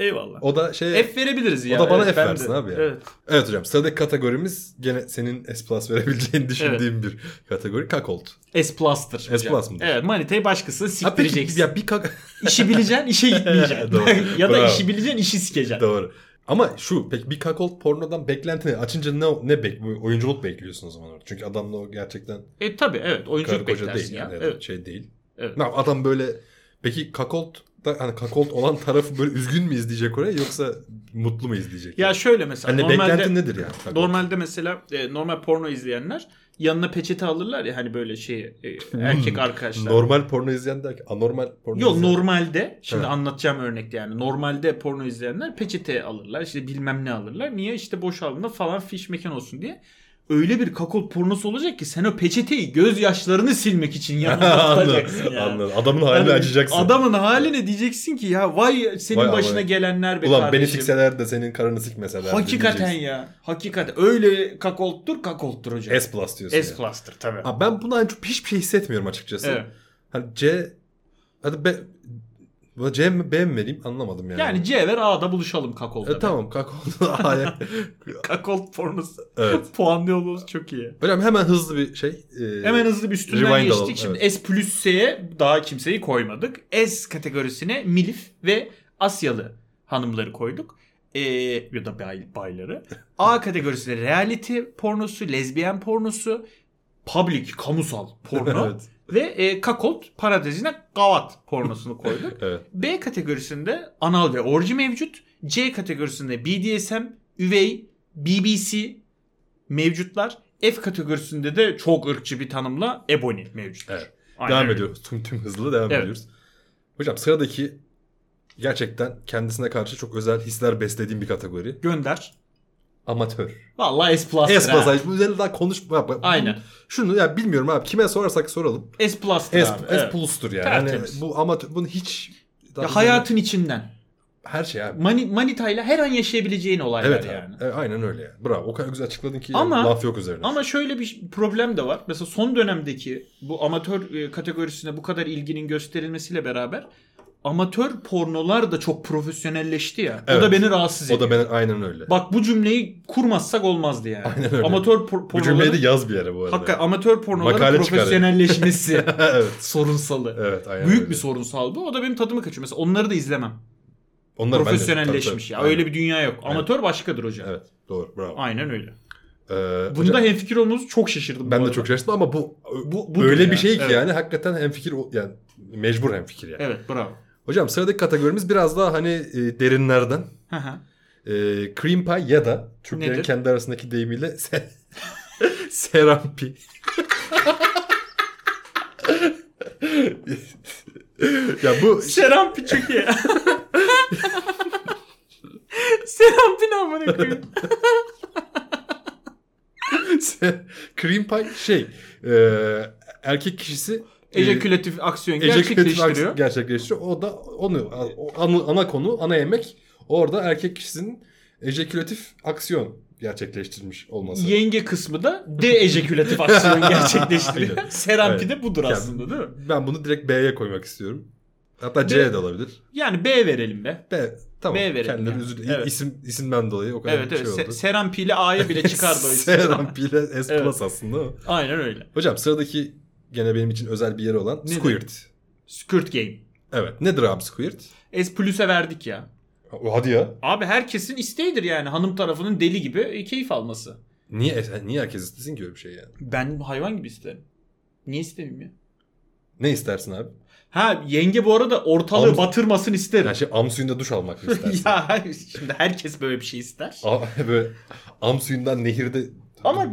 Speaker 4: Eyvallah.
Speaker 1: O da şey...
Speaker 4: F verebiliriz ya.
Speaker 1: da bana
Speaker 4: evet,
Speaker 1: F
Speaker 4: ben
Speaker 1: versin
Speaker 4: de.
Speaker 1: abi ya.
Speaker 4: Evet.
Speaker 1: Evet hocam sıradaki kategorimiz gene senin S plus verebileceğini düşündüğüm bir kategori kakolt.
Speaker 4: S plus'tır. hocam.
Speaker 1: S plus mıdır?
Speaker 4: Evet manitayı başkası
Speaker 1: Ha peki
Speaker 4: siktireceksin.
Speaker 1: ya bir kak...
Speaker 4: İşi bileceksin işe gitmeyeceksin.
Speaker 1: Doğru.
Speaker 4: ya da
Speaker 1: Bravo.
Speaker 4: işi bileceksin işi sikeceksin.
Speaker 1: Doğru. Ama şu peki bir kakolt pornodan beklenti ne? Açınca ne, ne bek bu oyunculuk bekliyorsun o zaman orada. Çünkü adamla o gerçekten
Speaker 4: E tabi evet
Speaker 1: karı
Speaker 4: oyunculuk
Speaker 1: koca
Speaker 4: beklersin
Speaker 1: değil.
Speaker 4: ya.
Speaker 1: yani.
Speaker 4: Evet.
Speaker 1: Şey değil.
Speaker 4: Evet.
Speaker 1: Ne yap- adam böyle peki kakolt da hani kakolt olan tarafı böyle üzgün mü izleyecek oraya yoksa mutlu mu izleyecek?
Speaker 4: Ya
Speaker 1: yani?
Speaker 4: şöyle mesela
Speaker 1: Hani
Speaker 4: normalde
Speaker 1: beklentin nedir yani? kakolt?
Speaker 4: normalde mesela e, normal porno izleyenler yanına peçete alırlar ya hani böyle şey e,
Speaker 1: Hmm,
Speaker 4: erkek arkadaşlar.
Speaker 1: Normal porno izleyen derken anormal porno
Speaker 4: Yok
Speaker 1: izleyen.
Speaker 4: normalde şimdi
Speaker 1: Evet.
Speaker 4: anlatacağım örnekte yani normalde porno izleyenler peçete alırlar işte bilmem ne alırlar. Niye işte boşaldığında falan fiş mekan olsun diye. Öyle bir kakol pornosu olacak ki sen o peçeteyi gözyaşlarını silmek için yanına tutacaksın
Speaker 1: Anladım.
Speaker 4: yani.
Speaker 1: Anladım. Adamın halini
Speaker 4: Yani
Speaker 1: açacaksın.
Speaker 4: Adamın haline diyeceksin ki ya vay senin
Speaker 1: Vay
Speaker 4: başına
Speaker 1: amına.
Speaker 4: gelenler be
Speaker 1: Ulan beni
Speaker 4: kardeşim.
Speaker 1: sikseler de senin karını sikmeseler. şey. de
Speaker 4: Hakikaten
Speaker 1: diyeceksin.
Speaker 4: ya. Hakikaten. Öyle kakolttur kakolttur hocam.
Speaker 1: S plus diyorsun.
Speaker 4: S
Speaker 1: yani.
Speaker 4: plus'tır tabii.
Speaker 1: Ha, ben bundan çok hiçbir şey hissetmiyorum açıkçası.
Speaker 4: Evet.
Speaker 1: Hani C hadi B Buna C mi B mi vereyim anlamadım yani.
Speaker 4: Yani C ver A'da buluşalım kakolda.
Speaker 1: e, tamam kalk oldu. A'ya.
Speaker 4: Kakolt pornosu.
Speaker 1: evet.
Speaker 4: Puanlıyoruz çok iyi.
Speaker 1: Hocam hemen hızlı bir şey. e,
Speaker 4: Hemen hızlı bir üstünden
Speaker 1: Rewind
Speaker 4: geçtik.
Speaker 1: alalım,
Speaker 4: Şimdi S plus S'ye daha kimseyi koymadık. S kategorisine Milif ve Asyalı hanımları koyduk. Ee, ya da bay- bayları. A kategorisine reality pornosu, lezbiyen pornosu, public, kamusal porno
Speaker 1: evet.
Speaker 4: ve e, kakolt paradezine gavat pornosunu koyduk.
Speaker 1: Evet.
Speaker 4: B kategorisinde anal ve orji mevcut. C kategorisinde BDSM, üvey, BBC mevcutlar. F kategorisinde de çok ırkçı bir tanımla ebony mevcut.
Speaker 1: Evet.
Speaker 4: Aynen
Speaker 1: Devam
Speaker 4: öyle.
Speaker 1: ediyoruz. Tüm tüm hızlı devam
Speaker 4: Evet.
Speaker 1: ediyoruz. Hocam sıradaki gerçekten kendisine karşı çok özel hisler beslediğim bir kategori.
Speaker 4: Gönder.
Speaker 1: Amatör.
Speaker 4: Vallahi S plus.
Speaker 1: S plus. Bu üzerine daha konuş. bak- bak-
Speaker 4: Aynen.
Speaker 1: Şunu ya bilmiyorum abi. Kime sorarsak soralım.
Speaker 4: S plus.
Speaker 1: S,
Speaker 4: abi.
Speaker 1: S
Speaker 4: evet.
Speaker 1: plus'tur yani. Hani
Speaker 4: Tertemiz.
Speaker 1: bu amatör. Bunu hiç.
Speaker 4: Ya hayatın içinden.
Speaker 1: Her şey abi.
Speaker 4: Mani, manitayla her an yaşayabileceğin olaylar
Speaker 1: Evet
Speaker 4: yani.
Speaker 1: abi. E, aynen öyle yani. Bravo. O kadar güzel açıkladın ki
Speaker 4: Ama-
Speaker 1: laf yok üzerine.
Speaker 4: Ama şöyle bir problem de var. Mesela son dönemdeki bu amatör e, kategorisine bu kadar ilginin gösterilmesiyle beraber amatör pornolar da çok profesyonelleşti ya. O
Speaker 1: Evet.
Speaker 4: da beni rahatsız
Speaker 1: o
Speaker 4: ediyor.
Speaker 1: da ben aynen öyle.
Speaker 4: Bak bu cümleyi kurmazsak olmazdı yani.
Speaker 1: Aynen öyle.
Speaker 4: Amatör por-
Speaker 1: Bu cümleyi de
Speaker 4: pornoların
Speaker 1: yaz bir yere bu arada.
Speaker 4: hakikaten amatör pornoların
Speaker 1: Makale çıkar.
Speaker 4: profesyonelleşmesi
Speaker 1: evet.
Speaker 4: sorunsalı.
Speaker 1: Evet aynen
Speaker 4: Büyük
Speaker 1: öyle.
Speaker 4: bir sorunsal bu. O da benim tadımı kaçıyor. Mesela onları da izlemem.
Speaker 1: Onlar bende. Tabii,
Speaker 4: Profesyonelleşmiş
Speaker 1: tabii.
Speaker 4: ya.
Speaker 1: Aynen.
Speaker 4: Öyle bir dünya yok. Amatör başkadır hocam.
Speaker 1: Evet. Doğru. Bravo.
Speaker 4: Aynen öyle.
Speaker 1: Ee,
Speaker 4: Bunda
Speaker 1: hocam,
Speaker 4: hemfikir olmanız çok şaşırdım. bu
Speaker 1: ben de
Speaker 4: arada.
Speaker 1: çok şaşırdım ama bu,
Speaker 4: Bu-
Speaker 1: bu,
Speaker 4: budur
Speaker 1: öyle
Speaker 4: ya.
Speaker 1: bir şey ki
Speaker 4: Evet.
Speaker 1: yani hakikaten hemfikir o- yani mecbur hemfikir yani.
Speaker 4: Evet bravo.
Speaker 1: Hocam sıradaki kategorimiz biraz daha hani e, derinlerden.
Speaker 4: Hı hı.
Speaker 1: E, cream pie ya da Türklerin
Speaker 4: Nedir?
Speaker 1: kendi arasındaki deyimiyle se- serampi. ya bu
Speaker 4: Serampi çok iyi. Serampi ne amına koyayım?
Speaker 1: se- cream pie şey e, erkek kişisi e,
Speaker 4: Ejakülatif aksiyon
Speaker 1: ejekülatif
Speaker 4: gerçekleştiriyor.
Speaker 1: aks- gerçekleştiriyor. O da onu o ana, ana konu, ana yemek orada erkek kişisinin ejekülatif aksiyon gerçekleştirmiş olması.
Speaker 4: Yenge kısmı da de ejakülatif aksiyon gerçekleştiriyor.
Speaker 1: Aynen.
Speaker 4: Serampi
Speaker 1: Evet.
Speaker 4: de budur
Speaker 1: Yani-
Speaker 4: aslında değil mi?
Speaker 1: ben bunu direkt B'ye koymak istiyorum. Hatta
Speaker 4: B-
Speaker 1: C'ye de olabilir.
Speaker 4: Yani B verelim be.
Speaker 1: B tamam.
Speaker 4: B verelim
Speaker 1: Kendileri
Speaker 4: yani.
Speaker 1: üzül
Speaker 4: Evet.
Speaker 1: isim isimden dolayı o kadar
Speaker 4: Evet
Speaker 1: şey
Speaker 4: evet.
Speaker 1: oldu.
Speaker 4: Se- Serampi ile A'ya bile çıkardı o isim.
Speaker 1: Serampi ile S
Speaker 4: Evet.
Speaker 1: plus aslında. ama.
Speaker 4: Aynen öyle.
Speaker 1: Hocam sıradaki gene benim için özel bir yeri olan
Speaker 4: Nedir?
Speaker 1: Squirt.
Speaker 4: Skirt Game.
Speaker 1: Evet. Nedir abi Squirt?
Speaker 4: S plus'e verdik ya.
Speaker 1: Ha- Hadi ya.
Speaker 4: Abi herkesin isteğidir yani hanım tarafının deli gibi e, keyif alması.
Speaker 1: Niye e, niye herkes istesin ki öyle bir şey yani?
Speaker 4: Ben hayvan gibi isterim. Niye istemeyeyim ya?
Speaker 1: Ne istersin abi?
Speaker 4: Ha yenge bu arada ortalığı
Speaker 1: Ama-
Speaker 4: batırmasın isterim.
Speaker 1: Yani şey am suyunda duş almak mı istersin?
Speaker 4: ya şimdi herkes böyle bir şey ister.
Speaker 1: A- böyle am suyundan nehirde
Speaker 4: Ama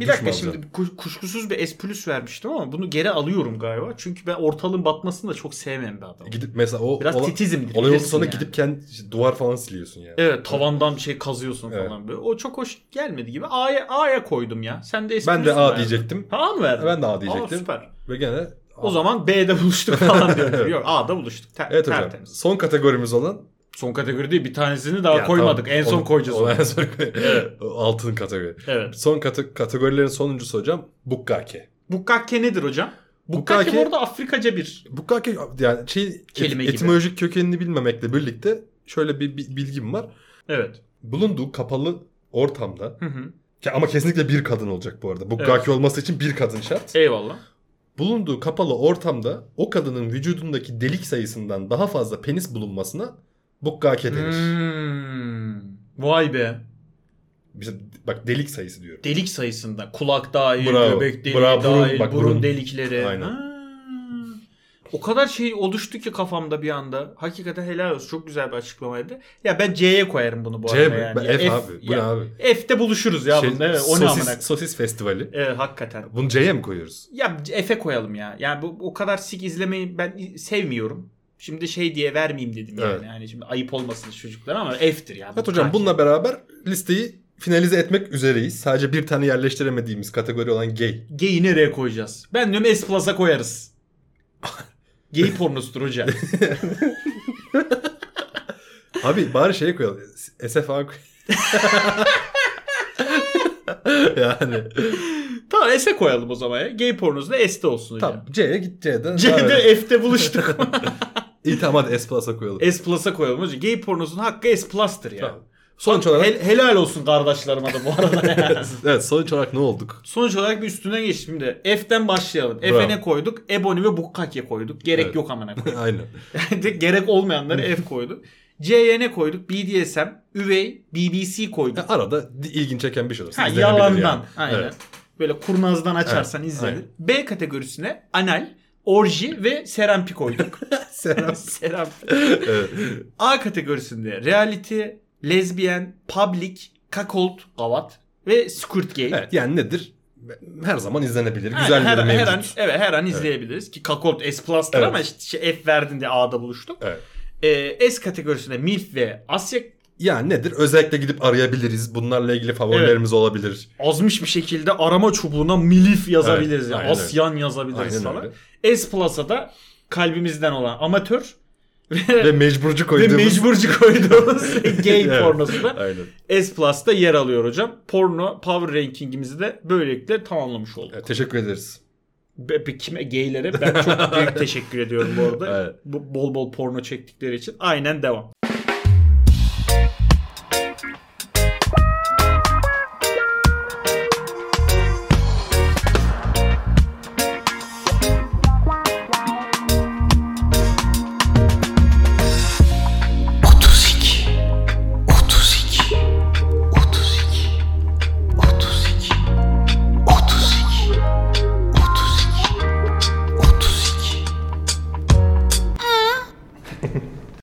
Speaker 1: duş
Speaker 4: bir
Speaker 1: mu
Speaker 4: dakika
Speaker 1: alacaksın?
Speaker 4: şimdi kuş- kuşkusuz bir S plus vermiştim ama bunu geri alıyorum galiba. Çünkü ben ortalığın batmasını da çok sevmem bir adamım.
Speaker 1: Gidip mesela o
Speaker 4: Biraz
Speaker 1: ola-
Speaker 4: titizimdir.
Speaker 1: olay oldu
Speaker 4: bilirsin
Speaker 1: sonra
Speaker 4: yani.
Speaker 1: gidip kendi işte duvar falan siliyorsun yani.
Speaker 4: Evet tavandan bir şey kazıyorsun
Speaker 1: Evet.
Speaker 4: falan böyle. O çok hoş gelmedi gibi. A'ya A'ya koydum ya. Sen de S
Speaker 1: Ben de
Speaker 4: plus'u
Speaker 1: A
Speaker 4: verdin.
Speaker 1: diyecektim.
Speaker 4: Ha A mı verdin?
Speaker 1: Ben de A
Speaker 4: Aa,
Speaker 1: diyecektim.
Speaker 4: süper.
Speaker 1: Ve gene
Speaker 4: O zaman B'de buluştuk falan diyorum.
Speaker 1: Evet.
Speaker 4: Yok A'da buluştuk. Ter-
Speaker 1: Evet hocam.
Speaker 4: tertemiz.
Speaker 1: Son kategorimiz olan
Speaker 4: Son kategori değil bir tanesini daha
Speaker 1: Ya
Speaker 4: koymadık.
Speaker 1: tamam,
Speaker 4: en son
Speaker 1: onu-
Speaker 4: koyacağız
Speaker 1: onu
Speaker 4: onu.
Speaker 1: en son koy-
Speaker 4: Evet.
Speaker 1: O Altın kategori.
Speaker 4: Evet.
Speaker 1: Son kate- kategorilerin sonuncusu hocam bukkake.
Speaker 4: Bukkake nedir hocam? Bukkake,
Speaker 1: Bukkake-
Speaker 4: bu arada Afrikaca bir
Speaker 1: Bukkake yani şey
Speaker 4: Kelime
Speaker 1: et-
Speaker 4: gibi.
Speaker 1: etimolojik kökenini bilmemekle birlikte şöyle bir, bir bilgim var.
Speaker 4: Evet.
Speaker 1: Bulunduğu kapalı ortamda
Speaker 4: Hı hı.
Speaker 1: ki ama kesinlikle bir kadın olacak bu arada. Bu
Speaker 4: Evet.
Speaker 1: gaki olması için bir kadın şart.
Speaker 4: Eyvallah.
Speaker 1: Bulunduğu kapalı ortamda o kadının vücudundaki delik sayısından daha fazla penis bulunmasına bukkake denir.
Speaker 4: Hmm. Vay be.
Speaker 1: Bize- bak delik sayısı diyorum.
Speaker 4: Delik sayısında. Kulak dahil,
Speaker 1: Bravo.
Speaker 4: göbek deliği
Speaker 1: Bravo, burun-
Speaker 4: dahil,
Speaker 1: bak
Speaker 4: burun,
Speaker 1: burun.
Speaker 4: delikleri.
Speaker 1: Aynen.
Speaker 4: Ha. O kadar şey oluştu ki kafamda bir anda. Hakikaten helal olsun. Çok güzel bir açıklamaydı. Ya ben C'ye koyarım bunu bu
Speaker 1: C
Speaker 4: arada
Speaker 1: mi?
Speaker 4: yani.
Speaker 1: Ben
Speaker 4: Ya
Speaker 1: F abi. Bu ne
Speaker 4: ya
Speaker 1: abi?
Speaker 4: F'te buluşuruz ya
Speaker 1: Şey,
Speaker 4: bunun. Evet, o ne amına.
Speaker 1: sosis, sosis festivali.
Speaker 4: Evet hakikaten.
Speaker 1: Bunu C'ye mi koyuyoruz?
Speaker 4: Ya F'e koyalım ya. Yani bu o kadar sik izlemeyi ben sevmiyorum. Şimdi şey diye vermeyeyim dedim
Speaker 1: Evet.
Speaker 4: yani. Yani şimdi ayıp olmasın çocuklara ama F'tir ya.
Speaker 1: Evet hocam
Speaker 4: Bukkake.
Speaker 1: bununla beraber listeyi finalize etmek üzereyiz. Sadece bir tane yerleştiremediğimiz kategori olan gay.
Speaker 4: Gay'i nereye koyacağız? Ben diyorum S Plus'a koyarız. Gay pornosudur hoca.
Speaker 1: Abi bari şeye koyalım. SFA koy. yani
Speaker 4: tamam S'e koyalım o zaman ya. Gay pornosu da S'te olsun hocam.
Speaker 1: tam C'ye git C'den.
Speaker 4: C'de F'te buluştuk.
Speaker 1: İyi tamam hadi S plus'a koyalım.
Speaker 4: S Plus'a koyalım hocam. Gay pornosunun hakkı S Plus'tır ya.
Speaker 1: Tamam. Sonuç olarak
Speaker 4: Hel- helal olsun kardeşlerime de bu arada. yani.
Speaker 1: evet sonuç olarak ne olduk?
Speaker 4: Sonuç olarak bir üstüne geçtim de. F'ten başlayalım.
Speaker 1: Bravo.
Speaker 4: F'e ne koyduk? Ebony ve Bukkake koyduk. Gerek
Speaker 1: Evet.
Speaker 4: yok amına koyayım.
Speaker 1: Aynen.
Speaker 4: De- Gerek olmayanları F koyduk. C'ye ne koyduk? BDSM, üvey, BBC koyduk.
Speaker 1: Ya arada di- ilgin çeken bir şey olursa
Speaker 4: Ha,
Speaker 1: izlenebilir yani.
Speaker 4: yalandan. Aynen.
Speaker 1: Evet.
Speaker 4: Böyle kurnazdan açarsan
Speaker 1: Evet,
Speaker 4: izlenir.
Speaker 1: aynen.
Speaker 4: B kategorisine anal, orji ve serampi koyduk.
Speaker 1: Serap.
Speaker 4: serampi.
Speaker 1: Evet.
Speaker 4: A kategorisinde reality, lezbiyen, public, kakolt, gavat ve squirt game.
Speaker 1: evet yani nedir? Her zaman izlenebilir.
Speaker 4: Yani
Speaker 1: Güzel
Speaker 4: her,
Speaker 1: bir
Speaker 4: her
Speaker 1: mevcut.
Speaker 4: an, evet, her an izleyebiliriz. Ki kakolt S Plus'tır
Speaker 1: Evet.
Speaker 4: ama işte şey F verdin diye A'da buluştuk.
Speaker 1: Evet.
Speaker 4: Ee, S kategorisinde MILF ve Asya
Speaker 1: Yani nedir? Özellikle gidip arayabiliriz. Bunlarla ilgili favorilerimiz olabilir.
Speaker 4: azmış bir şekilde arama çubuğuna milif yazabiliriz.
Speaker 1: Evet,
Speaker 4: yani.
Speaker 1: aynen öyle.
Speaker 4: Asyan yazabiliriz
Speaker 1: Aynen
Speaker 4: falan.
Speaker 1: öyle.
Speaker 4: S Plus'a da kalbimizden olan amatör
Speaker 1: Ve mecburcu
Speaker 4: ve
Speaker 1: koyduğumuz.
Speaker 4: mecburcu koyduğumuz gay
Speaker 1: Evet.
Speaker 4: pornosu da
Speaker 1: Aynen.
Speaker 4: S Plus'ta yer alıyor hocam. Porno power rankingimizi de böylelikle tamamlamış olduk.
Speaker 1: Evet, teşekkür ederiz.
Speaker 4: Be- be- kime gaylere ben çok büyük teşekkür ediyorum bu arada.
Speaker 1: Evet.
Speaker 4: Bu bol bol porno çektikleri için. Aynen devam.